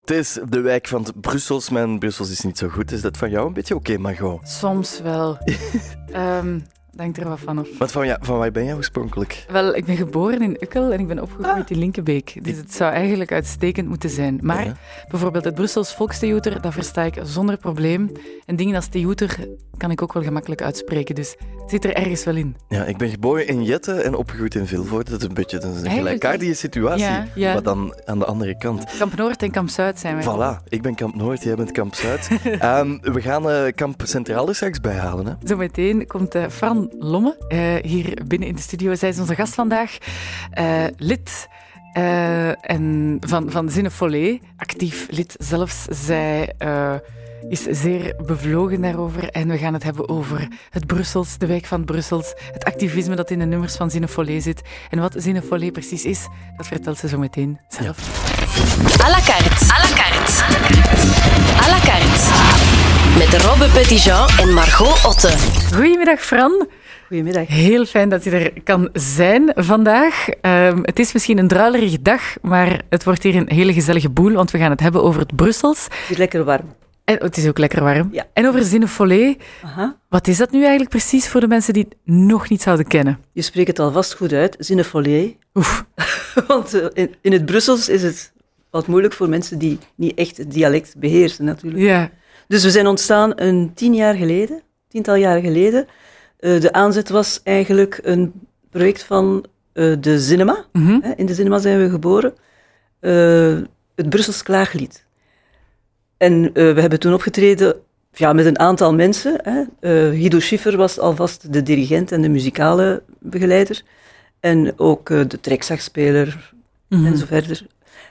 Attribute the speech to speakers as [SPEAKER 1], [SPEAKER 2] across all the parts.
[SPEAKER 1] Het is de wijk van het Brussels. Mijn Brussels is niet zo goed. Is dat van jou een beetje oké, Margot?
[SPEAKER 2] Soms wel. Ehm denk er wat van af.
[SPEAKER 1] Want van, ja, van waar ben jij oorspronkelijk?
[SPEAKER 2] Wel, ik ben geboren in Ukkel en ik ben opgegroeid
[SPEAKER 1] Ah.
[SPEAKER 2] in Linkebeek. Dus het zou eigenlijk uitstekend moeten zijn. Maar
[SPEAKER 1] Ja.
[SPEAKER 2] bijvoorbeeld het Brussels volkstheater, dat versta ik zonder probleem. En dingen als theater kan ik ook wel gemakkelijk uitspreken. Dus het zit er ergens wel in.
[SPEAKER 1] Ja, ik ben geboren in Jette en opgegroeid in Vilvoorde. Dat is een beetje dat is een
[SPEAKER 2] Eigenlijk
[SPEAKER 1] gelijkaardige situatie,
[SPEAKER 2] dus Ja, ja.
[SPEAKER 1] maar dan aan de andere kant.
[SPEAKER 2] Kamp Noord en Kamp Zuid zijn wij.
[SPEAKER 1] Voilà, ik ben Kamp Noord, jij bent Kamp Zuid. Ehm, we gaan eh, Kamp Centraal er straks bij halen. Hè?
[SPEAKER 2] Zometeen komt eh, Fran Lomme eh, hier binnen in de studio. Zij is onze gast vandaag. Eh, lid eh, en van, van Zinnefolé, actief lid zelfs. Zij eh, is zeer bevlogen daarover. En we gaan het hebben over het Brussels, de wijk van het Brussels. Het activisme dat in de nummers van Zinnefolé zit. En wat Zinnefolé precies is, dat vertelt ze zo meteen zelf.
[SPEAKER 3] À la carte. À la carte. À la carte. Met Robbe Petitjean en Margot Otte.
[SPEAKER 2] Goedemiddag Fran.
[SPEAKER 4] Goedemiddag.
[SPEAKER 2] Heel fijn dat je er kan zijn vandaag. Ehm, het is misschien een druilerige dag, maar het wordt hier een hele gezellige boel, want we gaan het hebben over het Brussels.
[SPEAKER 4] Het is lekker warm.
[SPEAKER 2] En oh, het is ook lekker warm.
[SPEAKER 4] Ja.
[SPEAKER 2] En over Zinnefolé.
[SPEAKER 4] Aha.
[SPEAKER 2] Wat is dat nu eigenlijk precies voor de mensen die het nog niet zouden kennen?
[SPEAKER 4] Je spreekt het alvast goed uit, zinnefolie.
[SPEAKER 2] Oef.
[SPEAKER 4] Want eh, in, in het Brussels is het wat moeilijk voor mensen die niet echt het dialect beheersen natuurlijk.
[SPEAKER 2] Ja.
[SPEAKER 4] Dus we zijn ontstaan een tien jaar geleden, tiental jaar geleden. Eh, de aanzet was eigenlijk een project van eh, de cinema.
[SPEAKER 2] Mhm.
[SPEAKER 4] Hè, In de cinema zijn we geboren. Eh, het Brussels klaaglied. En eh, we hebben toen opgetreden ja, met een aantal mensen. Hè. Eh, Guido Schiffer was alvast de dirigent en de muzikale begeleider. En ook eh, de trekzagspeler en zo verder.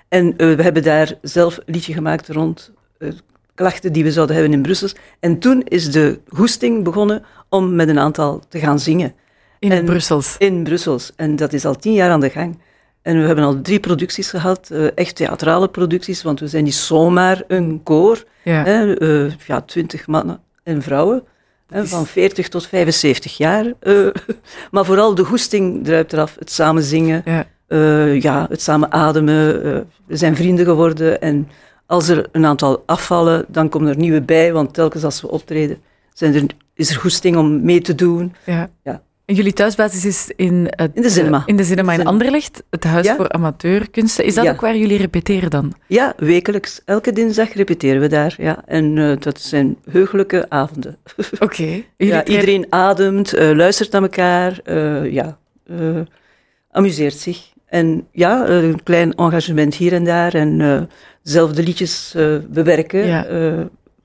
[SPEAKER 4] En eh, we hebben daar zelf een liedje gemaakt rond eh, klachten die we zouden hebben in Brussel. En toen is de goesting begonnen om met een aantal te gaan zingen.
[SPEAKER 2] In het
[SPEAKER 4] En-
[SPEAKER 2] Brussels.
[SPEAKER 4] In Brussels. En dat is al tien jaar aan de gang. En we hebben al drie producties gehad, eh, echt theatrale producties, want we zijn niet zomaar een koor.
[SPEAKER 2] Ja.
[SPEAKER 4] Hè, eh, ja, twintig mannen en vrouwen, hè,
[SPEAKER 2] is-
[SPEAKER 4] van 40 tot 75 jaar. eh. maar vooral de goesting druipt eraf, het samen zingen,
[SPEAKER 2] Ja.
[SPEAKER 4] eh, ja, het samen ademen. eh, we zijn vrienden geworden en als er een aantal afvallen, dan komen er nieuwe bij, want telkens als we optreden, zijn er, is er goesting om mee te doen.
[SPEAKER 2] Ja.
[SPEAKER 4] Ja.
[SPEAKER 2] En jullie thuisbasis is in, het,
[SPEAKER 4] In de cinema.
[SPEAKER 2] In de cinema in
[SPEAKER 4] Cinema.
[SPEAKER 2] Anderlecht, het Huis
[SPEAKER 4] Ja.
[SPEAKER 2] voor Amateurkunsten. Is dat
[SPEAKER 4] Ja.
[SPEAKER 2] ook waar jullie repeteren dan?
[SPEAKER 4] Ja, wekelijks. Elke dinsdag repeteren we daar. Ja. En eh, dat zijn heugelijke avonden.
[SPEAKER 2] Oké. Jullie
[SPEAKER 4] Ja,
[SPEAKER 2] treden-
[SPEAKER 4] iedereen ademt, eh, luistert naar elkaar, eh, ja, eh, amuseert zich. En ja, eh, een klein engagement hier en daar. En eh, zelf de liedjes eh, bewerken,
[SPEAKER 2] Ja.
[SPEAKER 4] eh,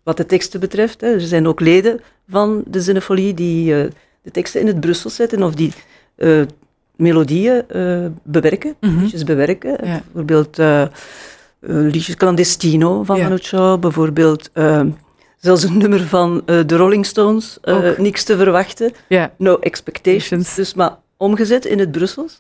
[SPEAKER 4] wat de teksten betreft. Hè. Er zijn ook leden van de Zinnefolie die eh, de teksten in het Brussel zetten of die eh, melodieën eh, bewerken,
[SPEAKER 2] Mhm.
[SPEAKER 4] liedjes bewerken.
[SPEAKER 2] Ja.
[SPEAKER 4] Bijvoorbeeld eh, eh, liedjes Clandestino van
[SPEAKER 2] Ja.
[SPEAKER 4] Manu Chao, bijvoorbeeld... eh, Zelfs een nummer van eh, de Rolling Stones, eh,
[SPEAKER 2] Ook.
[SPEAKER 4] niks te verwachten,
[SPEAKER 2] Ja.
[SPEAKER 4] no expectations.
[SPEAKER 2] Expectations.
[SPEAKER 4] Dus maar omgezet in het Brussels.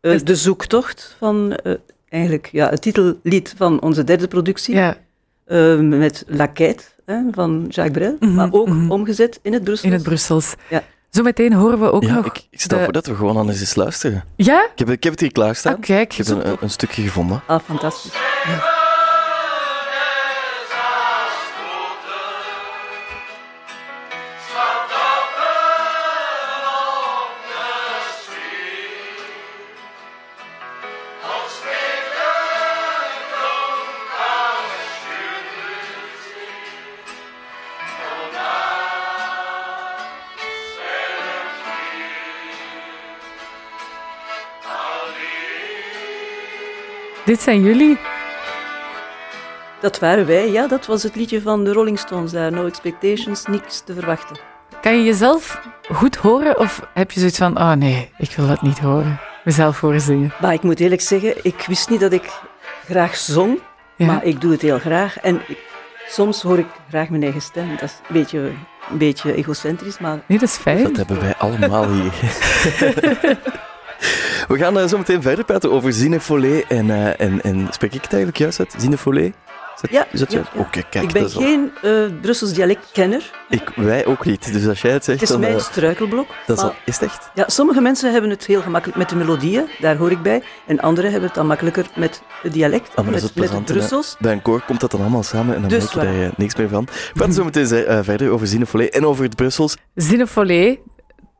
[SPEAKER 4] Eh,
[SPEAKER 2] Dus-
[SPEAKER 4] de zoektocht van eh, eigenlijk ja, het titellied van onze derde productie,
[SPEAKER 2] ja.
[SPEAKER 4] eh, met La Quête hè, van Jacques Brel,
[SPEAKER 2] Mhm,
[SPEAKER 4] maar ook
[SPEAKER 2] mhm.
[SPEAKER 4] omgezet in het Brussels.
[SPEAKER 2] In het Brussels.
[SPEAKER 4] Ja.
[SPEAKER 2] Zometeen horen we ook
[SPEAKER 1] Ja,
[SPEAKER 2] nog.
[SPEAKER 1] ik, ik stel
[SPEAKER 2] de-
[SPEAKER 1] voor dat we gewoon aan eens eens luisteren.
[SPEAKER 2] Ja?
[SPEAKER 1] Ik heb, ik heb het hier klaarstaan.
[SPEAKER 2] Ah, kijk,
[SPEAKER 1] Ik heb een, een- een stukje gevonden.
[SPEAKER 4] Ah, fantastisch.
[SPEAKER 2] Dit zijn jullie.
[SPEAKER 4] Dat waren wij, ja, dat was het liedje van de Rolling Stones daar, no expectations, niks te verwachten.
[SPEAKER 2] Kan je jezelf goed horen of heb je zoiets van, oh nee, ik wil dat niet horen. Mezelf horen zingen.
[SPEAKER 4] Maar ik moet eerlijk zeggen, ik wist niet dat ik graag zong.
[SPEAKER 2] Ja.
[SPEAKER 4] Maar ik doe het heel graag. En ik- soms hoor ik graag mijn eigen stem. Dat is een beetje, een beetje egocentrisch, maar
[SPEAKER 2] Nee, dat is fijn.
[SPEAKER 1] Dat hebben wij allemaal hier. we gaan eh, zo meteen verder praten over Zinefolé. En, eh, en, en spreek ik het eigenlijk juist uit? Zinefolé? Zet,
[SPEAKER 4] Ja,
[SPEAKER 1] zet
[SPEAKER 4] ja,
[SPEAKER 1] je-
[SPEAKER 4] ja.
[SPEAKER 1] Oké, kijk,
[SPEAKER 4] ik ben
[SPEAKER 1] dat is al-
[SPEAKER 4] geen eh Brussels dialectkenner.
[SPEAKER 1] ik, Wij ook niet. Dus als jij het zegt,
[SPEAKER 4] Het is
[SPEAKER 1] dan...
[SPEAKER 4] mijn
[SPEAKER 1] eh,
[SPEAKER 4] struikelblok.
[SPEAKER 1] dat is, al,
[SPEAKER 4] maar-
[SPEAKER 1] is het echt?
[SPEAKER 4] ja, sommige mensen hebben het heel gemakkelijk met de melodieën, daar hoor ik bij. En anderen hebben het dan makkelijker met het dialect,
[SPEAKER 1] Ah, maar dat is
[SPEAKER 4] met,
[SPEAKER 1] het
[SPEAKER 4] met het
[SPEAKER 1] plezante, hè.
[SPEAKER 4] Brussels.
[SPEAKER 1] Bij een koor komt dat dan allemaal samen en dan
[SPEAKER 4] Dus
[SPEAKER 1] merk je
[SPEAKER 4] waar.
[SPEAKER 1] daar eh, niks meer van. We gaan zo meteen eh, verder over Zinefolie en over het Brussels.
[SPEAKER 2] Zinnefolé,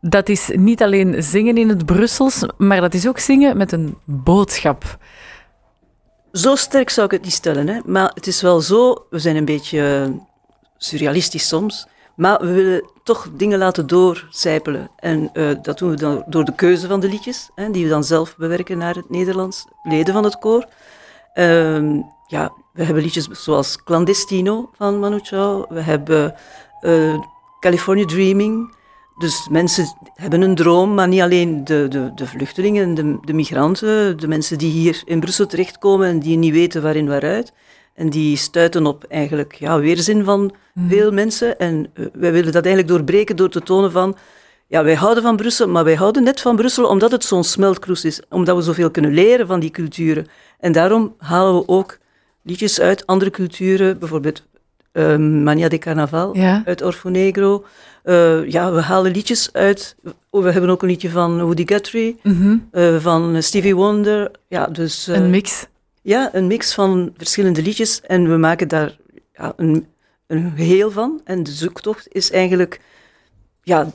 [SPEAKER 2] dat is niet alleen zingen in het Brussels, maar dat is ook zingen met een boodschap.
[SPEAKER 4] Zo sterk zou ik het niet stellen, hè? maar het is wel zo, we zijn een beetje eh, surrealistisch soms, maar we willen toch dingen laten doorcijpelen. En eh, dat doen we dan door de keuze van de liedjes, hè, die we dan zelf bewerken naar het Nederlands, leden van het koor. Ehm, ja, we hebben liedjes zoals Clandestino van Manu Chao, we hebben eh, California Dreaming. Dus mensen hebben een droom, maar niet alleen de, de, de vluchtelingen, de, de migranten, de mensen die hier in Brussel terechtkomen en die niet weten waarin waaruit. En die stuiten op eigenlijk ja, weerzin van veel mensen. En eh, wij willen dat eigenlijk doorbreken door te tonen van, ja, wij houden van Brussel, maar wij houden net van Brussel omdat het zo'n smeltkroes is. Omdat we zoveel kunnen leren van die culturen. En daarom halen we ook liedjes uit andere culturen, bijvoorbeeld eh, Mania de Carnaval
[SPEAKER 2] Ja.
[SPEAKER 4] uit Orfonegro. Eh, ja, we halen liedjes uit. Oh, we hebben ook een liedje van Woody Guthrie,
[SPEAKER 2] Mhm.
[SPEAKER 4] eh, van Stevie Wonder. Ja, dus, eh,
[SPEAKER 2] Een mix.
[SPEAKER 4] ja, een mix van verschillende liedjes. En we maken daar ja, een, een geheel van. En de zoektocht is eigenlijk... Ja,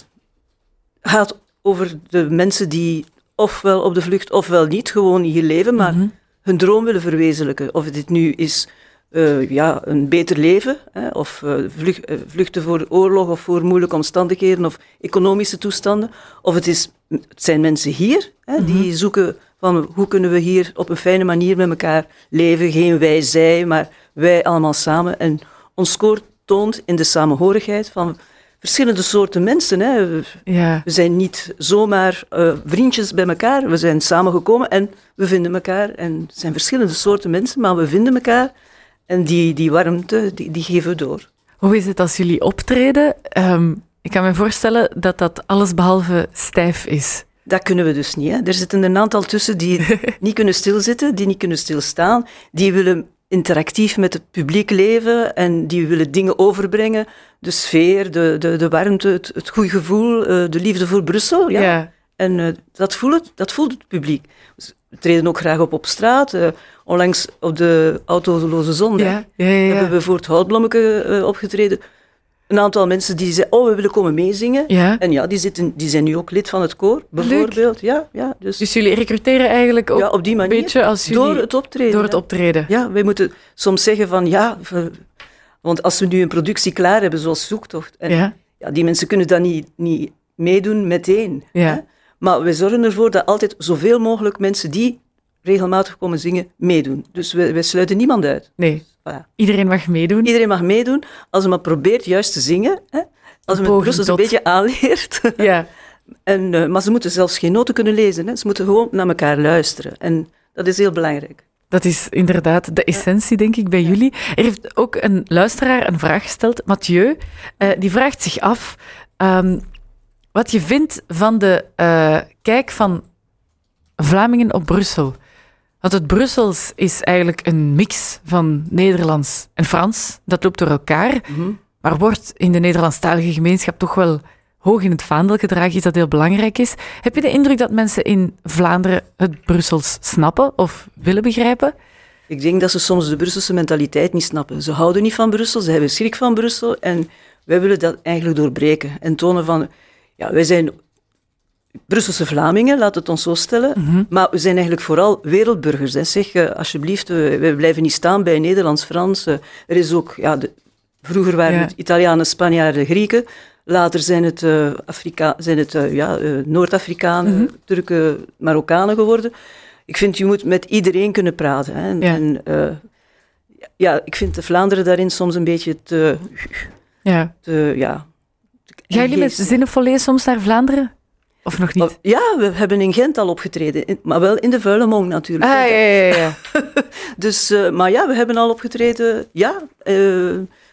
[SPEAKER 4] gaat over de mensen die ofwel op de vlucht ofwel niet gewoon hier leven,
[SPEAKER 2] Mhm.
[SPEAKER 4] maar hun droom willen verwezenlijken. Of dit nu is eh, ja, een beter leven, hè, of eh, vlug- eh, vluchten voor oorlog of voor moeilijke omstandigheden of economische toestanden. Of het, is, het zijn mensen hier hè, die zoeken van hoe kunnen we hier op een fijne manier met elkaar leven. Geen wij, zij, maar wij allemaal samen. En ons koor toont in de samenhorigheid van verschillende soorten mensen. Hè.
[SPEAKER 2] Ja.
[SPEAKER 4] We zijn niet zomaar eh, vriendjes bij elkaar. We zijn samengekomen en we vinden elkaar. En het zijn verschillende soorten mensen, maar we vinden elkaar. En die, die warmte, die, die geven we door.
[SPEAKER 2] Hoe is het als jullie optreden? Ehm, ik kan me voorstellen dat dat allesbehalve stijf is.
[SPEAKER 4] Dat kunnen we dus niet. Hè. Er zitten een aantal tussen die niet kunnen stilzitten, die niet kunnen stilstaan. Die willen interactief met het publiek leven en die willen dingen overbrengen. De sfeer, de, de, de warmte, het, het goede gevoel, eh, de liefde voor Brussel. ja. En eh, dat, voelt het, dat voelt het publiek. Ze treden ook graag op op straat. eh, onlangs op de Autoloze Zondag
[SPEAKER 2] Ja, ja, ja, ja.
[SPEAKER 4] hebben we voor het Houtblommeke eh, opgetreden. Een aantal mensen die zeiden, oh, we willen komen meezingen.
[SPEAKER 2] Ja.
[SPEAKER 4] En ja, die, zitten, die zijn nu ook lid van het koor, bijvoorbeeld. Ja, ja, dus,
[SPEAKER 2] Dus jullie recruteren eigenlijk ook
[SPEAKER 4] ja, op die manier.
[SPEAKER 2] een beetje als jullie
[SPEAKER 4] door het optreden.
[SPEAKER 2] door het
[SPEAKER 4] hè.
[SPEAKER 2] optreden.
[SPEAKER 4] Ja, wij moeten soms zeggen van, ja... we- want als we nu een productie klaar hebben, zoals Zoektocht... en-
[SPEAKER 2] Ja.
[SPEAKER 4] ja, die mensen kunnen dat niet, niet meedoen meteen.
[SPEAKER 2] Ja.
[SPEAKER 4] hè. Maar we zorgen ervoor dat altijd zoveel mogelijk mensen die regelmatig komen zingen, meedoen. Dus we, we sluiten niemand uit.
[SPEAKER 2] Nee,
[SPEAKER 4] Voilà.
[SPEAKER 2] iedereen mag meedoen.
[SPEAKER 4] Iedereen mag meedoen als hij maar probeert juist te zingen. Hè? Als
[SPEAKER 2] Poging
[SPEAKER 4] hij het Brussels een
[SPEAKER 2] tot.
[SPEAKER 4] beetje aanleert.
[SPEAKER 2] Ja.
[SPEAKER 4] en, eh, maar ze moeten zelfs geen noten kunnen lezen. Hè? Ze moeten gewoon naar elkaar luisteren. En dat is heel belangrijk.
[SPEAKER 2] Dat is inderdaad de essentie, denk ik, bij jullie. Er heeft ook een luisteraar een vraag gesteld, Mathieu. eh, die vraagt zich af ehm, wat je vindt van de eh, kijk van Vlamingen op Brussel. Want het Brussels is eigenlijk een mix van Nederlands en Frans. Dat loopt door elkaar, maar wordt in de Nederlandstalige gemeenschap toch wel hoog in het vaandel gedragen. Iets dat heel belangrijk is. Heb je de indruk dat mensen in Vlaanderen het Brussels snappen of willen begrijpen?
[SPEAKER 4] Ik denk dat ze soms de Brusselse mentaliteit niet snappen. Ze houden niet van Brussel, ze hebben schrik van Brussel. En wij willen dat eigenlijk doorbreken. En tonen van, ja, wij zijn Brusselse Vlamingen, laat het ons zo stellen. Maar we zijn eigenlijk vooral wereldburgers. Hè. Zeg, eh, alsjeblieft, eh, we blijven niet staan bij Nederlands-Frans. Eh, Er is ook, ja, de, vroeger waren
[SPEAKER 2] Ja.
[SPEAKER 4] het Italianen, Spanjaarden, Grieken. Later zijn het, eh, Afrika, zijn het eh, ja, eh, Noord-Afrikanen, Turken, Marokkanen geworden. Ik vind, je moet met iedereen kunnen praten. Hè. En,
[SPEAKER 2] Ja.
[SPEAKER 4] en, eh, ja, ik vind de Vlaanderen daarin soms een beetje te...
[SPEAKER 2] Ja.
[SPEAKER 4] te ja,
[SPEAKER 2] Gaan jullie met
[SPEAKER 4] geest-
[SPEAKER 2] Zinnefolle soms naar Vlaanderen? Of nog niet?
[SPEAKER 4] Oh, Ja, we hebben in Gent al opgetreden, in- maar wel in de Vuilemong natuurlijk.
[SPEAKER 2] Ah, ja, ja, ja.
[SPEAKER 4] Dus, eh, maar ja, we hebben al opgetreden, ja, eh,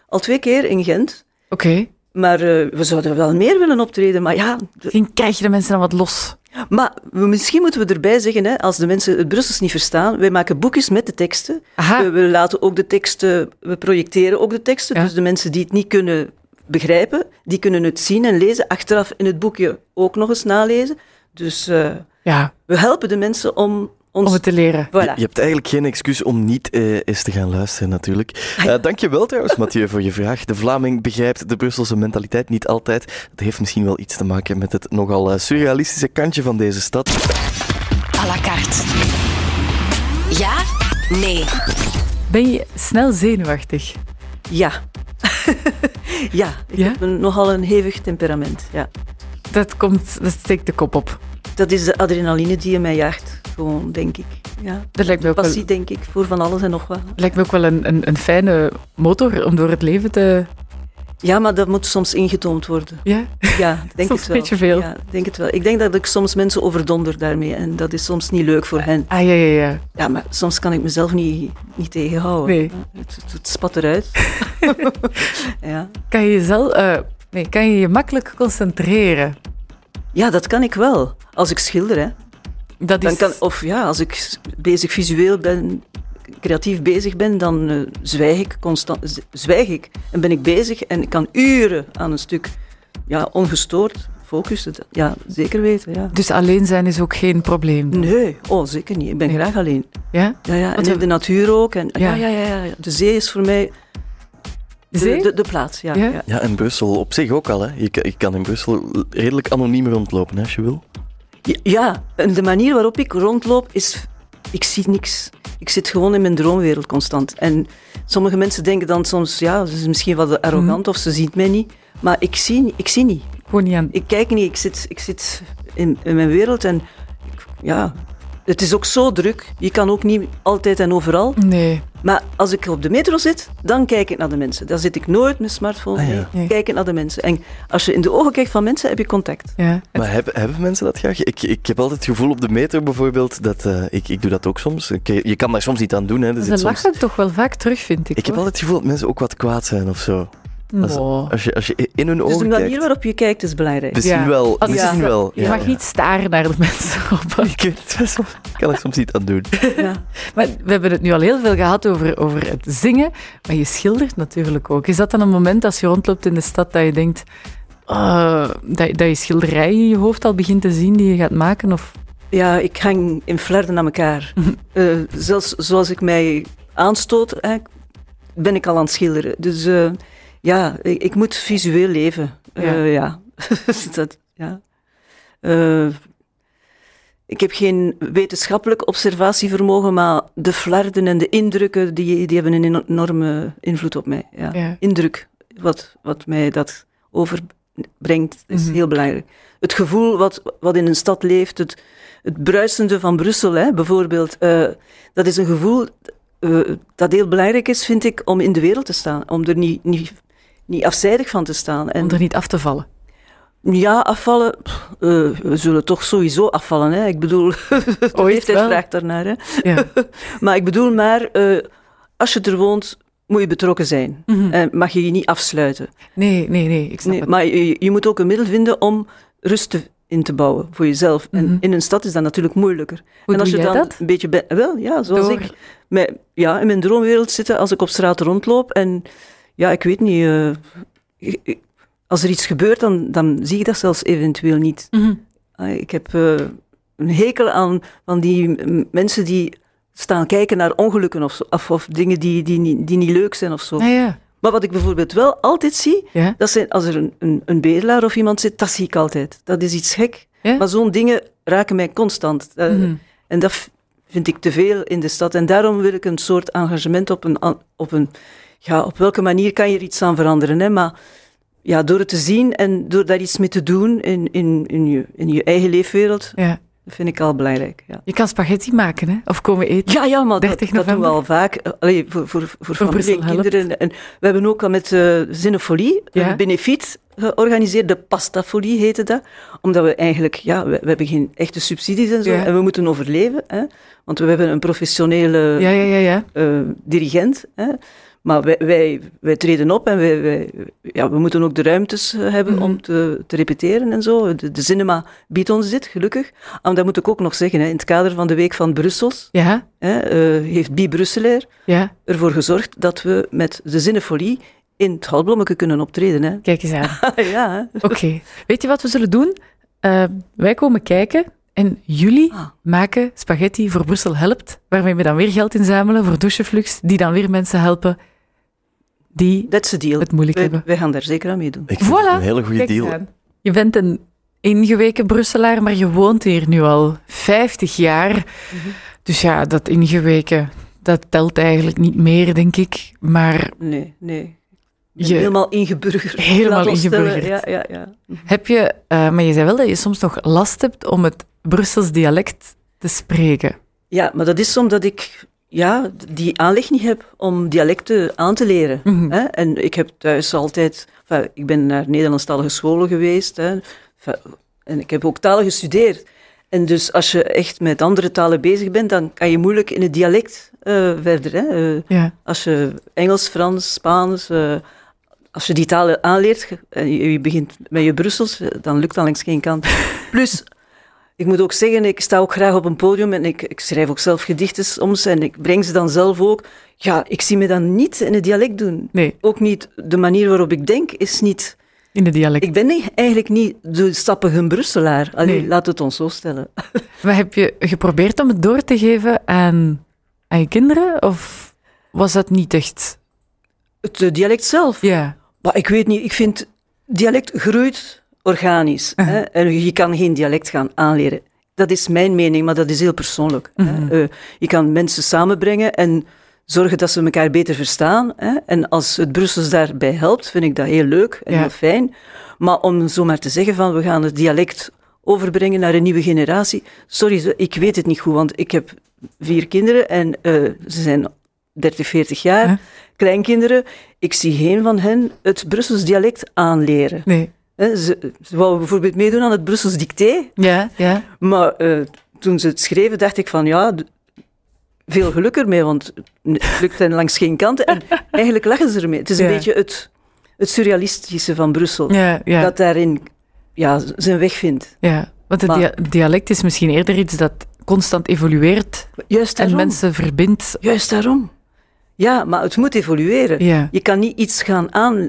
[SPEAKER 4] al twee keer in Gent.
[SPEAKER 2] Oké.
[SPEAKER 4] Maar eh, we zouden wel meer willen optreden, maar ja, d-
[SPEAKER 2] Misschien krijg je de mensen dan wat los.
[SPEAKER 4] Maar we- misschien moeten we erbij zeggen, hè, als de mensen het Brussels niet verstaan, wij maken boekjes met de teksten.
[SPEAKER 2] Aha.
[SPEAKER 4] We, we laten ook de teksten, we projecteren ook de teksten.
[SPEAKER 2] Ja.
[SPEAKER 4] Dus de mensen die het niet kunnen begrijpen, die kunnen het zien en lezen. Achteraf in het boekje ook nog eens nalezen. Dus eh,
[SPEAKER 2] Ja,
[SPEAKER 4] we helpen de mensen om ons...
[SPEAKER 2] om het te leren.
[SPEAKER 1] Je,
[SPEAKER 4] Voilà.
[SPEAKER 1] je hebt eigenlijk geen excuus om niet eh, eens te gaan luisteren, natuurlijk. Eh dankjewel trouwens, Mathieu, voor je vraag. De Vlaming begrijpt de Brusselse mentaliteit niet altijd. Dat heeft misschien wel iets te maken met het nogal eh, surrealistische kantje van deze stad.
[SPEAKER 3] à la carte. Ja, nee,
[SPEAKER 2] Ben je snel zenuwachtig?
[SPEAKER 4] Ja. ja, ik
[SPEAKER 2] Ja?
[SPEAKER 4] heb een, nogal een hevig temperament. Ja.
[SPEAKER 2] Dat, komt, dat steekt de kop op.
[SPEAKER 4] Dat is de adrenaline die in mij jaagt, gewoon, denk ik. Ja.
[SPEAKER 2] Dat lijkt me ook wel,
[SPEAKER 4] Passie, denk ik, voor van alles en nog wat.
[SPEAKER 2] lijkt me ook wel een, een, een fijne motor om door het leven te...
[SPEAKER 4] Ja, maar dat moet soms ingetoomd worden.
[SPEAKER 2] Ja?
[SPEAKER 4] Ja, ik denk
[SPEAKER 2] Soms
[SPEAKER 4] het wel.
[SPEAKER 2] een beetje veel.
[SPEAKER 4] Ja, ik denk het wel. Ik denk dat ik soms mensen overdonder daarmee en dat is soms niet leuk voor hen.
[SPEAKER 2] Ah, ja, ja, ja.
[SPEAKER 4] Ja, maar soms kan ik mezelf niet, niet tegenhouden.
[SPEAKER 2] Nee.
[SPEAKER 4] Het, het, het spat eruit. ja.
[SPEAKER 2] Kan je jezelf... eh, nee, kan je je makkelijk concentreren?
[SPEAKER 4] ja, dat kan ik wel. Als ik schilder, hè.
[SPEAKER 2] Dat
[SPEAKER 4] Dan
[SPEAKER 2] is...
[SPEAKER 4] kan, of ja, als ik s- bezig visueel ben, creatief bezig ben, dan eh, zwijg ik constant. z- Zwijg ik en ben ik bezig en ik kan uren aan een stuk, ja, ongestoord focussen. Dat- Ja, zeker weten, ja.
[SPEAKER 2] Dus alleen zijn is ook geen probleem.
[SPEAKER 4] Nee, oh, zeker niet. Ik ben graag alleen.
[SPEAKER 2] Ja?
[SPEAKER 4] Ja, ja, en
[SPEAKER 2] Want we-
[SPEAKER 4] in de natuur ook. En,
[SPEAKER 2] Ja.
[SPEAKER 4] ja. Ja, ja, ja, De zee is voor mij de,
[SPEAKER 2] Zee?
[SPEAKER 4] de, de plaats. Ja,
[SPEAKER 2] Ja?
[SPEAKER 4] ja?
[SPEAKER 1] Ja, en Brussel op zich ook al. Hè. Je, ka- je kan in Brussel redelijk anoniem rondlopen hè, als je wil.
[SPEAKER 4] Ja, ja, en de manier waarop ik rondloop is... Ik zie niks. Ik zit gewoon in mijn droomwereld constant. En sommige mensen denken dan soms, ja, ze is misschien wat arrogant of ze ziet mij niet. Maar ik zie, ni- ik zie niet.
[SPEAKER 2] Gewoon niet aan...
[SPEAKER 4] Ik kijk niet. Ik zit, ik zit in, in mijn wereld en ik- ja... Het is ook zo druk. Je kan ook niet altijd en overal.
[SPEAKER 2] Nee.
[SPEAKER 4] Maar als ik op de metro zit, dan kijk ik naar de mensen. Dan zit ik nooit met smartphone.
[SPEAKER 1] Ah, ja.
[SPEAKER 4] nee.
[SPEAKER 2] Nee.
[SPEAKER 4] Kijk ik naar de mensen. En als je in de ogen kijkt van mensen, heb je contact. Dus
[SPEAKER 2] Ja.
[SPEAKER 1] Maar hebben, hebben mensen dat graag? Ik, ik heb altijd het gevoel op de metro bijvoorbeeld dat eh, ik, ik doe dat ook soms. Ik, eh, je kan daar soms niet aan doen. Hè. Er
[SPEAKER 2] Ze
[SPEAKER 1] zit soms-
[SPEAKER 2] lachen toch wel vaak terug, vind ik.
[SPEAKER 1] Ik heb altijd het gevoel dat mensen ook wat kwaad zijn of zo.
[SPEAKER 2] hoor.
[SPEAKER 1] Als,
[SPEAKER 2] Oh.
[SPEAKER 1] als, je, als je in hun
[SPEAKER 4] Dus de
[SPEAKER 1] ogen
[SPEAKER 4] manier
[SPEAKER 1] kijkt.
[SPEAKER 4] waarop je kijkt is belangrijk.
[SPEAKER 1] Misschien
[SPEAKER 2] Ja.
[SPEAKER 1] wel.
[SPEAKER 2] Als-
[SPEAKER 1] misschien
[SPEAKER 2] ja.
[SPEAKER 1] wel.
[SPEAKER 2] Je mag niet staren naar de mensen op.
[SPEAKER 1] Ik weet het wel soms. Ik kan er soms niet aan doen.
[SPEAKER 4] Ja.
[SPEAKER 2] Maar we hebben het nu al heel veel gehad over, over het zingen, maar je schildert natuurlijk ook. Is dat dan een moment als je rondloopt in de stad dat je denkt eh, dat, dat je schilderij in je hoofd al begint te zien die je gaat maken? Of...
[SPEAKER 4] ja, ik hang in flarden aan elkaar. Eh, zelfs zoals ik mij aanstoot, hè, ben ik al aan het schilderen. Dus eh, ja, ik, ik moet visueel leven. Eh, ja. Dat, ja. Eh, ik heb geen wetenschappelijk observatievermogen, maar de flarden en de indrukken, die, die hebben een enorme invloed op mij. Ja.
[SPEAKER 2] Ja.
[SPEAKER 4] Indruk, wat, wat mij dat overbrengt, is
[SPEAKER 2] Mhm.
[SPEAKER 4] heel belangrijk. Het gevoel wat, wat in een stad leeft, het, het bruisende van Brussel hè, bijvoorbeeld, eh, dat is een gevoel eh, dat heel belangrijk is, vind ik, om in de wereld te staan. Om er niet, niet, niet afzijdig van te staan. En
[SPEAKER 2] Om er niet af te vallen.
[SPEAKER 4] ja, afvallen, pff, eh, we zullen toch sowieso afvallen. Hè? Ik bedoel, de
[SPEAKER 2] wel.
[SPEAKER 4] leeftijd vraagt daarnaar. Hè?
[SPEAKER 2] Ja.
[SPEAKER 4] Maar ik bedoel maar, eh, als je er woont, moet je betrokken zijn.
[SPEAKER 2] Mhm.
[SPEAKER 4] En mag je je niet afsluiten.
[SPEAKER 2] Nee, nee, nee, ik snap
[SPEAKER 4] Nee,
[SPEAKER 2] het.
[SPEAKER 4] maar je, je moet ook een middel vinden om rust te- in te bouwen voor jezelf.
[SPEAKER 2] Mhm.
[SPEAKER 4] En in een stad is dat natuurlijk moeilijker.
[SPEAKER 2] Hoe
[SPEAKER 4] en als
[SPEAKER 2] doe
[SPEAKER 4] je
[SPEAKER 2] jij
[SPEAKER 4] dan
[SPEAKER 2] dat?
[SPEAKER 4] een beetje... be- wel, ja, zoals
[SPEAKER 2] Door-
[SPEAKER 4] ik. Mijn, ja, in mijn droomwereld zitten als ik op straat rondloop. En ja, ik weet niet... eh, ik- ik- als er iets gebeurt, dan, dan zie ik dat zelfs eventueel niet.
[SPEAKER 2] Mhm.
[SPEAKER 4] Ah, Ik heb eh, een hekel aan van die mm, mensen die staan kijken naar ongelukken of, zo, of, of dingen die, die, niet- die niet leuk zijn of zo.
[SPEAKER 2] Ja, ja.
[SPEAKER 4] Maar wat ik bijvoorbeeld wel altijd zie,
[SPEAKER 2] Ja?
[SPEAKER 4] dat zijn als er een, een, een bedelaar of iemand zit, dat zie ik altijd. Dat is iets gek.
[SPEAKER 2] Ja?
[SPEAKER 4] Maar zo'n dingen raken mij constant. Eh,
[SPEAKER 2] Mhm.
[SPEAKER 4] En dat v- vind ik te veel in de stad. En daarom wil ik een soort engagement op een... an- Op een ja, op welke manier kan je er iets aan veranderen? Hè? Maar ja, door het te zien en door daar iets mee te doen in, in, in, je, in je eigen leefwereld,
[SPEAKER 2] ja.
[SPEAKER 4] dat vind ik al belangrijk. Ja,
[SPEAKER 2] Je kan spaghetti maken, hè? Of komen eten.
[SPEAKER 4] ja, ja maar
[SPEAKER 2] 30
[SPEAKER 4] dat, dat doen we
[SPEAKER 2] november.
[SPEAKER 4] al vaak. Eh, Allee, voor, voor, voor,
[SPEAKER 2] Brussel
[SPEAKER 4] familie en
[SPEAKER 2] helpt.
[SPEAKER 4] kinderen. En we hebben ook al met eh Zinnefolie
[SPEAKER 2] Ja.
[SPEAKER 4] een benefiet georganiseerd. De Pastafolie heette dat. Omdat we eigenlijk, ja, we, we hebben geen echte subsidies en zo.
[SPEAKER 2] Ja.
[SPEAKER 4] En we moeten overleven. Hè, want we hebben een professionele
[SPEAKER 2] Ja, ja, ja. ja.
[SPEAKER 4] eh, dirigent. Hè. Maar wij, wij, wij treden op en wij, wij- ja, we moeten ook de ruimtes eh, hebben
[SPEAKER 2] Mhm.
[SPEAKER 4] om te, te repeteren en zo. De, de cinema biedt ons dit, gelukkig. En dat moet ik ook nog zeggen, hè, in het kader van de Week van Brussels
[SPEAKER 2] Ja,
[SPEAKER 4] hè, eh, heeft Bi Brusselaar
[SPEAKER 2] ja.
[SPEAKER 4] ervoor gezorgd dat we met de Zinnefolie in het Houtblommeke kunnen optreden. Hè.
[SPEAKER 2] Kijk eens aan.
[SPEAKER 4] ja, hè.
[SPEAKER 2] Oké. Weet je wat we zullen doen? Eh, wij komen kijken en jullie
[SPEAKER 4] Ah.
[SPEAKER 2] maken spaghetti voor Brussel Helpt, waarmee we dan weer geld inzamelen voor doucheflux, die dan weer mensen helpen die
[SPEAKER 4] that's the deal.
[SPEAKER 2] het moeilijk
[SPEAKER 4] Wij,
[SPEAKER 2] hebben.
[SPEAKER 4] wij gaan daar zeker aan meedoen.
[SPEAKER 1] Ik vind
[SPEAKER 2] Voilà.
[SPEAKER 1] het een hele goede
[SPEAKER 2] Kijk eens
[SPEAKER 1] deal.
[SPEAKER 2] aan. Je bent een ingeweken Brusselaar, maar je woont hier nu al 50 jaar. Dus ja, dat ingeweken, dat telt eigenlijk niet meer, denk ik. Maar
[SPEAKER 4] Nee, nee. Ik ben
[SPEAKER 2] Je-
[SPEAKER 4] helemaal ingeburgerd.
[SPEAKER 2] Helemaal
[SPEAKER 4] Laat ons stellen.
[SPEAKER 2] ingeburgerd.
[SPEAKER 4] Ja, ja, ja.
[SPEAKER 2] heb je, eh, maar je zei wel dat je soms nog last hebt om het Brussels dialect te spreken.
[SPEAKER 4] ja, maar dat is omdat ik ja, die aanleg niet heb om dialecten aan te leren.
[SPEAKER 2] Mhm.
[SPEAKER 4] Hè? En ik heb thuis altijd... enfin, ik ben naar Nederlandstalige scholen geweest. Hè? Enfin, en ik heb ook talen gestudeerd. En dus als je echt met andere talen bezig bent, dan kan je moeilijk in het dialect eh, verder. Hè? Eh,
[SPEAKER 2] Ja.
[SPEAKER 4] Als je Engels, Frans, Spaans, eh, als je die talen aanleert ge- en je, je begint met je Brussels, eh, dan lukt dat langs geen kant. Plus, ik moet ook zeggen, ik sta ook graag op een podium en ik, ik schrijf ook zelf gedichten soms en ik breng ze dan zelf ook. Ja, ik zie me dan niet in het dialect doen.
[SPEAKER 2] Nee,
[SPEAKER 4] Ook niet, de manier waarop ik denk is niet...
[SPEAKER 2] in het dialect.
[SPEAKER 4] Ik ben niet- eigenlijk niet de stappige Brusselaar. Allee,
[SPEAKER 2] Nee.
[SPEAKER 4] laat het ons zo stellen.
[SPEAKER 2] Maar heb je geprobeerd om het door te geven aan, aan je kinderen? Of was dat niet echt?
[SPEAKER 4] Het eh, dialect zelf.
[SPEAKER 2] Ja.
[SPEAKER 4] Maar ik weet niet, ik vind dialect groeit organisch.
[SPEAKER 2] Mhm.
[SPEAKER 4] Hè? En je kan geen dialect gaan aanleren. Dat is mijn mening, maar dat is heel persoonlijk.
[SPEAKER 2] Mhm.
[SPEAKER 4] Hè? Eh, je kan mensen samenbrengen en zorgen dat ze elkaar beter verstaan. Hè? En als het Brussels daarbij helpt, vind ik dat heel leuk en
[SPEAKER 2] Ja.
[SPEAKER 4] heel fijn. Maar om zomaar te zeggen van we gaan het dialect overbrengen naar een nieuwe generatie. Sorry, ik weet het niet goed, want ik heb vier kinderen en eh, ze zijn 30, 40 jaar,
[SPEAKER 2] Ja.
[SPEAKER 4] kleinkinderen. Ik zie geen van hen het Brussels dialect aanleren.
[SPEAKER 2] Nee.
[SPEAKER 4] Hè, Ze, ze wouden bijvoorbeeld meedoen aan het Brussels dicté,
[SPEAKER 2] Ja, ja.
[SPEAKER 4] maar eh, toen ze het schreven dacht ik van ja, d- veel geluk ermee, want het lukt hen langs geen kant. En eigenlijk lachen ze ermee. Het is een
[SPEAKER 2] Ja.
[SPEAKER 4] beetje het, het surrealistische van Brussel,
[SPEAKER 2] Ja, ja.
[SPEAKER 4] dat daarin ja, z- zijn weg vindt.
[SPEAKER 2] ja. Want het
[SPEAKER 4] Maar-
[SPEAKER 2] dia- dialect is misschien eerder iets dat constant evolueert
[SPEAKER 4] Juist
[SPEAKER 2] en
[SPEAKER 4] daarom.
[SPEAKER 2] mensen verbindt.
[SPEAKER 4] Juist daarom. Ja, maar het moet evolueren.
[SPEAKER 2] Ja.
[SPEAKER 4] Je kan niet iets gaan aan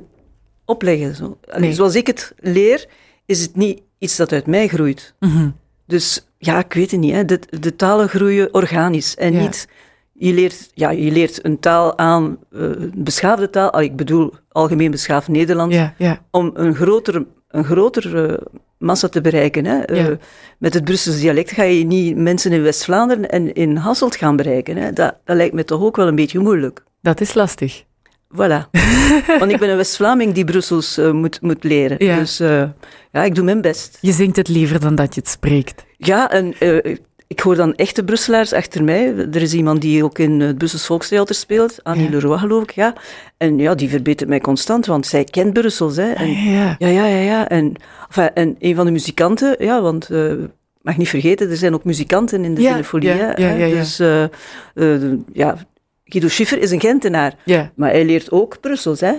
[SPEAKER 4] opleggen. Zo. Allee,
[SPEAKER 2] Nee.
[SPEAKER 4] Zoals ik het leer, is het niet iets dat uit mij groeit.
[SPEAKER 2] Mhm.
[SPEAKER 4] Dus ja, ik weet het niet. Hè. De, de talen groeien organisch en
[SPEAKER 2] Ja.
[SPEAKER 4] niet. Je leert, ja, je leert een taal aan, eh, een beschaafde taal, ah, ik bedoel algemeen beschaafd Nederlands,
[SPEAKER 2] Ja, ja.
[SPEAKER 4] om een grotere, een grotere massa te bereiken. Hè. Eh,
[SPEAKER 2] Ja.
[SPEAKER 4] met het Brussels dialect ga je niet mensen in West-Vlaanderen en in Hasselt gaan bereiken. Hè. Dat, dat lijkt me toch ook wel een beetje moeilijk.
[SPEAKER 2] Dat is lastig.
[SPEAKER 4] Voilà. Want ik ben een West-Vlaming die Brussels eh, moet, moet leren.
[SPEAKER 2] Ja.
[SPEAKER 4] Dus eh, ja, ik doe mijn best.
[SPEAKER 2] Je zingt het liever dan dat je het spreekt.
[SPEAKER 4] Ja, en eh, ik hoor dan echte Brusselaars achter mij. Er is iemand die ook in het Brussels Volkstheater speelt, Annie
[SPEAKER 2] Ja.
[SPEAKER 4] Leroy geloof ik, ja. En ja, die verbetert mij constant, want zij kent Brussels, hè. En,
[SPEAKER 2] Ah, Ja.
[SPEAKER 4] Ah, ja, ja, ja, ja. En, enfin, en een van de muzikanten, ja, want... eh, Mag niet vergeten, er zijn ook muzikanten in de
[SPEAKER 2] Ja,
[SPEAKER 4] Cinefolie.
[SPEAKER 2] ja,
[SPEAKER 4] hè,
[SPEAKER 2] ja, ja, ja.
[SPEAKER 4] Dus eh, eh, ja, Guido Schiffer is een Gentenaar.
[SPEAKER 2] Ja.
[SPEAKER 4] Maar hij leert ook Brussels, hè?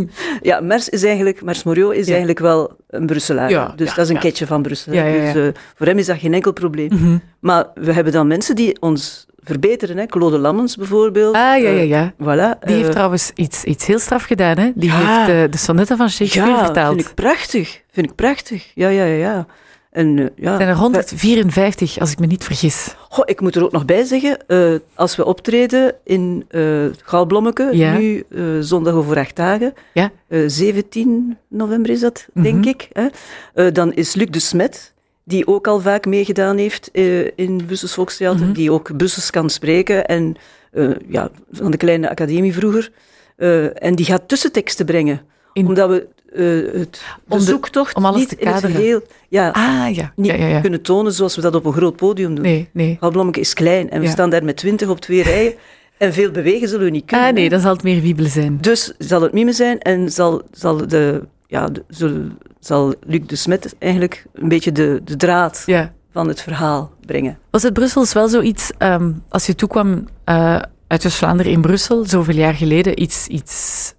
[SPEAKER 4] ja, Mers is eigenlijk, Mers Moriot is
[SPEAKER 2] Ja.
[SPEAKER 4] eigenlijk wel een Brusselaar.
[SPEAKER 2] Ja,
[SPEAKER 4] dus
[SPEAKER 2] ja,
[SPEAKER 4] dat is een
[SPEAKER 2] ja.
[SPEAKER 4] ketje van Brussel.
[SPEAKER 2] Ja, ja, ja.
[SPEAKER 4] Dus eh, voor hem is dat geen enkel probleem.
[SPEAKER 2] Mhm.
[SPEAKER 4] Maar we hebben dan mensen die ons verbeteren, hè? Claude Lammens bijvoorbeeld.
[SPEAKER 2] Ah, ja, ja,
[SPEAKER 4] Eh,
[SPEAKER 2] ja.
[SPEAKER 4] voilà.
[SPEAKER 2] Die heeft
[SPEAKER 4] eh,
[SPEAKER 2] trouwens iets, iets heel straf gedaan, hè? Die
[SPEAKER 4] Ja.
[SPEAKER 2] heeft eh, de sonnetten van Shakespeare
[SPEAKER 4] ja,
[SPEAKER 2] vertaald.
[SPEAKER 4] vind ik prachtig. Vind ik prachtig. Ja, ja, ja, ja. En eh, ja. Eh,
[SPEAKER 2] Er zijn er 154, als ik me niet vergis.
[SPEAKER 4] Goh, ik moet er ook nog bij zeggen, eh, als we optreden in eh Gaalblommeke,
[SPEAKER 2] Ja.
[SPEAKER 4] nu eh, zondag over acht dagen,
[SPEAKER 2] Ja.
[SPEAKER 4] eh, 17 november is dat, denk
[SPEAKER 2] Mhm.
[SPEAKER 4] ik, hè, eh, dan is Luc de Smet, die ook al vaak meegedaan heeft eh, in Brussels Volkstheater,
[SPEAKER 2] Mhm.
[SPEAKER 4] die ook Brussels kan spreken en eh, ja, van de kleine academie vroeger, eh, en die gaat tussenteksten brengen,
[SPEAKER 2] In-
[SPEAKER 4] omdat we eh, het, de
[SPEAKER 2] Om de-
[SPEAKER 4] zoektocht
[SPEAKER 2] om alles
[SPEAKER 4] niet
[SPEAKER 2] te
[SPEAKER 4] in het
[SPEAKER 2] kaderen.
[SPEAKER 4] geheel ja,
[SPEAKER 2] Ah, ja.
[SPEAKER 4] niet
[SPEAKER 2] Ja, ja, ja.
[SPEAKER 4] kunnen tonen zoals we dat op een groot podium doen.
[SPEAKER 2] Nee, nee.
[SPEAKER 4] Halblommeke is klein en we
[SPEAKER 2] Ja.
[SPEAKER 4] staan daar met twintig op twee rijen. En veel bewegen zullen we niet kunnen.
[SPEAKER 2] Ah, nee,
[SPEAKER 4] hè.
[SPEAKER 2] dan zal het meer wiebel zijn.
[SPEAKER 4] Dus zal het mime zijn en zal, zal, de, ja, de- zullen- zal Luc de Smet eigenlijk een beetje de, de draad
[SPEAKER 2] Ja.
[SPEAKER 4] van het verhaal brengen.
[SPEAKER 2] Was het Brussels wel zoiets, ehm, als je toekwam eh, uit West-Vlaanderen in Brussel, zoveel jaar geleden, iets, iets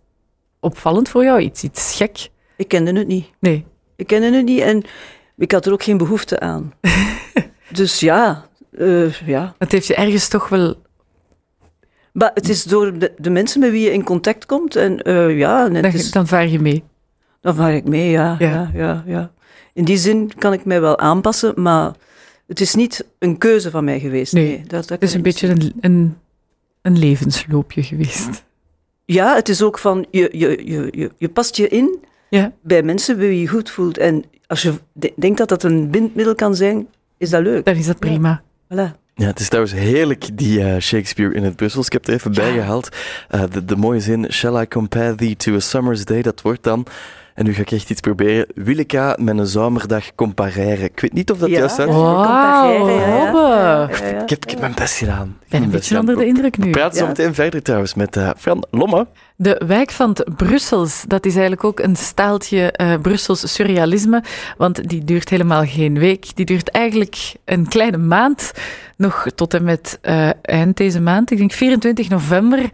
[SPEAKER 2] opvallend voor jou? Iets, iets gek?
[SPEAKER 4] Ik kende het niet.
[SPEAKER 2] Nee.
[SPEAKER 4] Ik kende het niet en ik had er ook geen behoefte aan. dus ja, eh, ja.
[SPEAKER 2] Het heeft je ergens toch wel...
[SPEAKER 4] Maar het is door de, de mensen met wie je in contact komt en eh, ja, en
[SPEAKER 2] Dan,
[SPEAKER 4] het is,
[SPEAKER 2] dan vaar je mee.
[SPEAKER 4] dan vaar ik mee, ja,
[SPEAKER 2] Ja.
[SPEAKER 4] ja. Ja, ja, In die zin kan ik mij wel aanpassen, maar het is niet een keuze van mij geweest.
[SPEAKER 2] Nee,
[SPEAKER 4] Nee, dat, dat
[SPEAKER 2] Het is
[SPEAKER 4] kan
[SPEAKER 2] een
[SPEAKER 4] ik
[SPEAKER 2] beetje een, een, een levensloopje geweest.
[SPEAKER 4] Ja, het is ook van, je, je, je, je, je past je in
[SPEAKER 2] Ja.
[SPEAKER 4] bij mensen bij wie je goed voelt. En als je de- denkt dat dat een bindmiddel kan zijn, is dat leuk.
[SPEAKER 2] Dan is dat prima.
[SPEAKER 4] Voilà.
[SPEAKER 1] Ja, het is trouwens heerlijk, die eh, Shakespeare in het Brussels. Ik heb het er even bij gehaald. Eh, de, de mooie zin, shall I compare thee to a summer's day? Dat wordt dan, en nu ga ik echt iets proberen, wil ik haar met een zomerdag compareren? Ik weet niet of dat
[SPEAKER 4] Ja.
[SPEAKER 1] juist is.
[SPEAKER 4] Ja.
[SPEAKER 2] Wauw,
[SPEAKER 4] compareren, ja, ja.
[SPEAKER 2] Robbe.
[SPEAKER 4] Ja, ja.
[SPEAKER 1] Ik heb, ik heb mijn best gedaan.
[SPEAKER 2] Ik ben een beetje onder de indruk
[SPEAKER 1] We
[SPEAKER 2] nu.
[SPEAKER 1] praten zo
[SPEAKER 4] Ja.
[SPEAKER 1] meteen verder trouwens met eh, Fran Lomme.
[SPEAKER 2] De wijk van het Brussels, dat is eigenlijk ook een staaltje eh, Brussels surrealisme, want die duurt helemaal geen week. Die duurt eigenlijk een kleine maand, nog tot en met eh, eind deze maand. Ik denk 24 november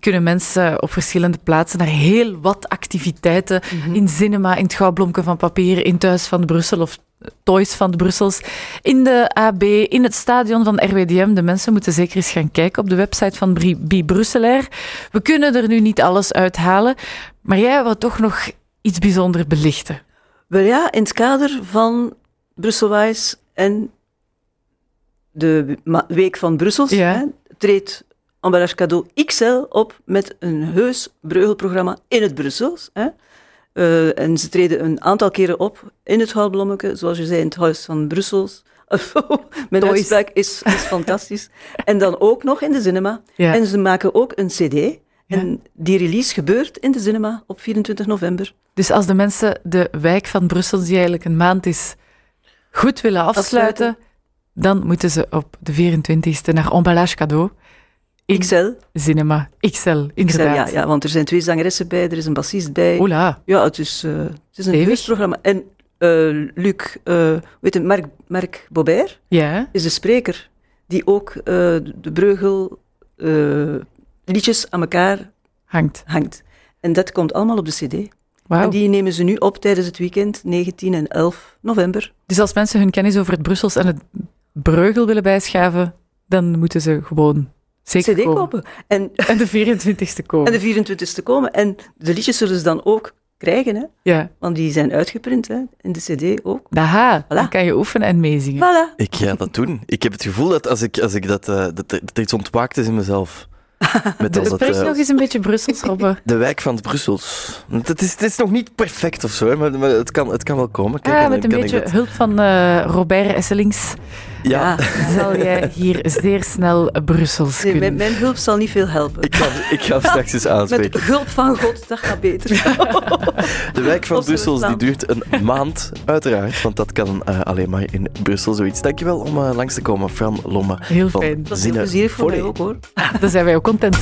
[SPEAKER 2] kunnen mensen op verschillende plaatsen naar heel wat activiteiten in cinema, in het Gouwblomken van Papier, in Thuis van de Brussel of Toys van de Brussels, in de AB, in het stadion van RWDM. De mensen moeten zeker eens gaan kijken op de website van Bri- Bi Brusselair. We kunnen er nu niet alles uithalen, maar jij wou toch nog iets bijzonders belichten.
[SPEAKER 4] Wel ja, in het kader van Brusselwijs en de ma- Week van Brussels
[SPEAKER 2] Ja.
[SPEAKER 4] hè, treedt Ambalage Cadeau XL op met een heus breugelprogramma in het Brussels. Hè. Eh, en ze treden een aantal keren op in het Goudblommeke, zoals je zei, in het Huis van Brussels. Oh, Mijn
[SPEAKER 2] Toys.
[SPEAKER 4] uitspraak is, is fantastisch. En dan ook nog in de cinema.
[SPEAKER 2] Ja.
[SPEAKER 4] En ze maken ook een cd. En die release gebeurt in de cinema op 24 november.
[SPEAKER 2] Dus als de mensen de wijk van Brussel, die eigenlijk een maand is, goed willen afsluiten,
[SPEAKER 4] Afsluiten.
[SPEAKER 2] dan moeten ze op de 24e naar Emballage Cadeau. In
[SPEAKER 4] XL.
[SPEAKER 2] Cinema XL,
[SPEAKER 4] Ja, ja,
[SPEAKER 2] inderdaad.
[SPEAKER 4] ja, want er zijn twee zangeressen bij, er is een bassist bij.
[SPEAKER 2] Ola,
[SPEAKER 4] Ja, het is, eh, het is een
[SPEAKER 2] Stevig.
[SPEAKER 4] feestprogramma. En eh, Luc, weet het, Marc, Marc Bobert
[SPEAKER 2] ja. hè?
[SPEAKER 4] is de spreker die ook eh, de Breugel eh, liedjes aan elkaar
[SPEAKER 2] Hangt.
[SPEAKER 4] hangt. En dat komt allemaal op de cd. En
[SPEAKER 2] Wauw.
[SPEAKER 4] die nemen ze nu op tijdens het weekend 19 en 11 november.
[SPEAKER 2] Dus als mensen hun kennis over het Brussels en het Breugel willen bijschaven, dan moeten ze gewoon zeker
[SPEAKER 4] cd
[SPEAKER 2] komen.
[SPEAKER 4] kopen. En,
[SPEAKER 2] En de 24e komen.
[SPEAKER 4] en de 24ste komen. En de liedjes zullen ze dan ook krijgen, hè?
[SPEAKER 2] Ja,
[SPEAKER 4] want die zijn uitgeprint hè? in de cd ook.
[SPEAKER 2] daha. Dan
[SPEAKER 4] Voilà.
[SPEAKER 2] kan je oefenen en meezingen.
[SPEAKER 4] Voilà.
[SPEAKER 1] Ik ga dat doen. Ik heb het gevoel dat als ik, als ik dat, eh, dat, er- dat er iets ontwaakt is in mezelf. Met als dat,
[SPEAKER 2] Spreek
[SPEAKER 1] eh,
[SPEAKER 2] nog eens een beetje Brussels, Robbe.
[SPEAKER 1] De wijk van het Brussels. Het is, het is nog niet perfect of zo, hè, maar, maar het, kan, het kan wel komen. Kijk,
[SPEAKER 2] Ah,
[SPEAKER 1] en
[SPEAKER 2] met
[SPEAKER 1] dan
[SPEAKER 2] een
[SPEAKER 1] kan ik
[SPEAKER 2] beetje
[SPEAKER 1] dat-
[SPEAKER 2] hulp van eh, Robert Esselings
[SPEAKER 1] Ja,
[SPEAKER 4] Ja.
[SPEAKER 2] zal jij hier zeer snel Brussels
[SPEAKER 4] Nee, mijn,
[SPEAKER 2] kunnen.
[SPEAKER 4] mijn hulp zal niet veel helpen.
[SPEAKER 1] ik ga, ik ga hem straks eens
[SPEAKER 4] Met
[SPEAKER 1] aanspreken.
[SPEAKER 4] hulp van God, dat gaat beter.
[SPEAKER 1] De wijk van
[SPEAKER 4] Op zijn
[SPEAKER 1] Brussels die
[SPEAKER 4] plan.
[SPEAKER 1] duurt een maand, uiteraard. Want dat kan eh, alleen maar in Brussel zoiets. Dankjewel om eh, langs te komen, Fran Lomme.
[SPEAKER 2] Heel
[SPEAKER 1] van
[SPEAKER 2] fijn.
[SPEAKER 4] Dat is heel
[SPEAKER 1] Zinnen
[SPEAKER 4] plezierig voor mij
[SPEAKER 1] Volley.
[SPEAKER 4] ook hoor.
[SPEAKER 2] Dan zijn wij ook content.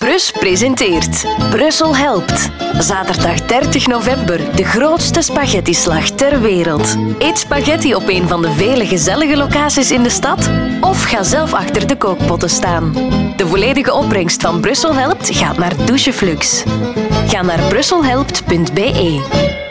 [SPEAKER 3] Brus presenteert Brussel helpt. Zaterdag 30 november, de grootste spaghettislag ter wereld. Eet spaghetti op een van de vele gezellige locaties in de stad of ga zelf achter de kookpotten staan. De volledige opbrengst van Brussel helpt gaat naar Doucheflux. Ga naar brusselhelpt.be.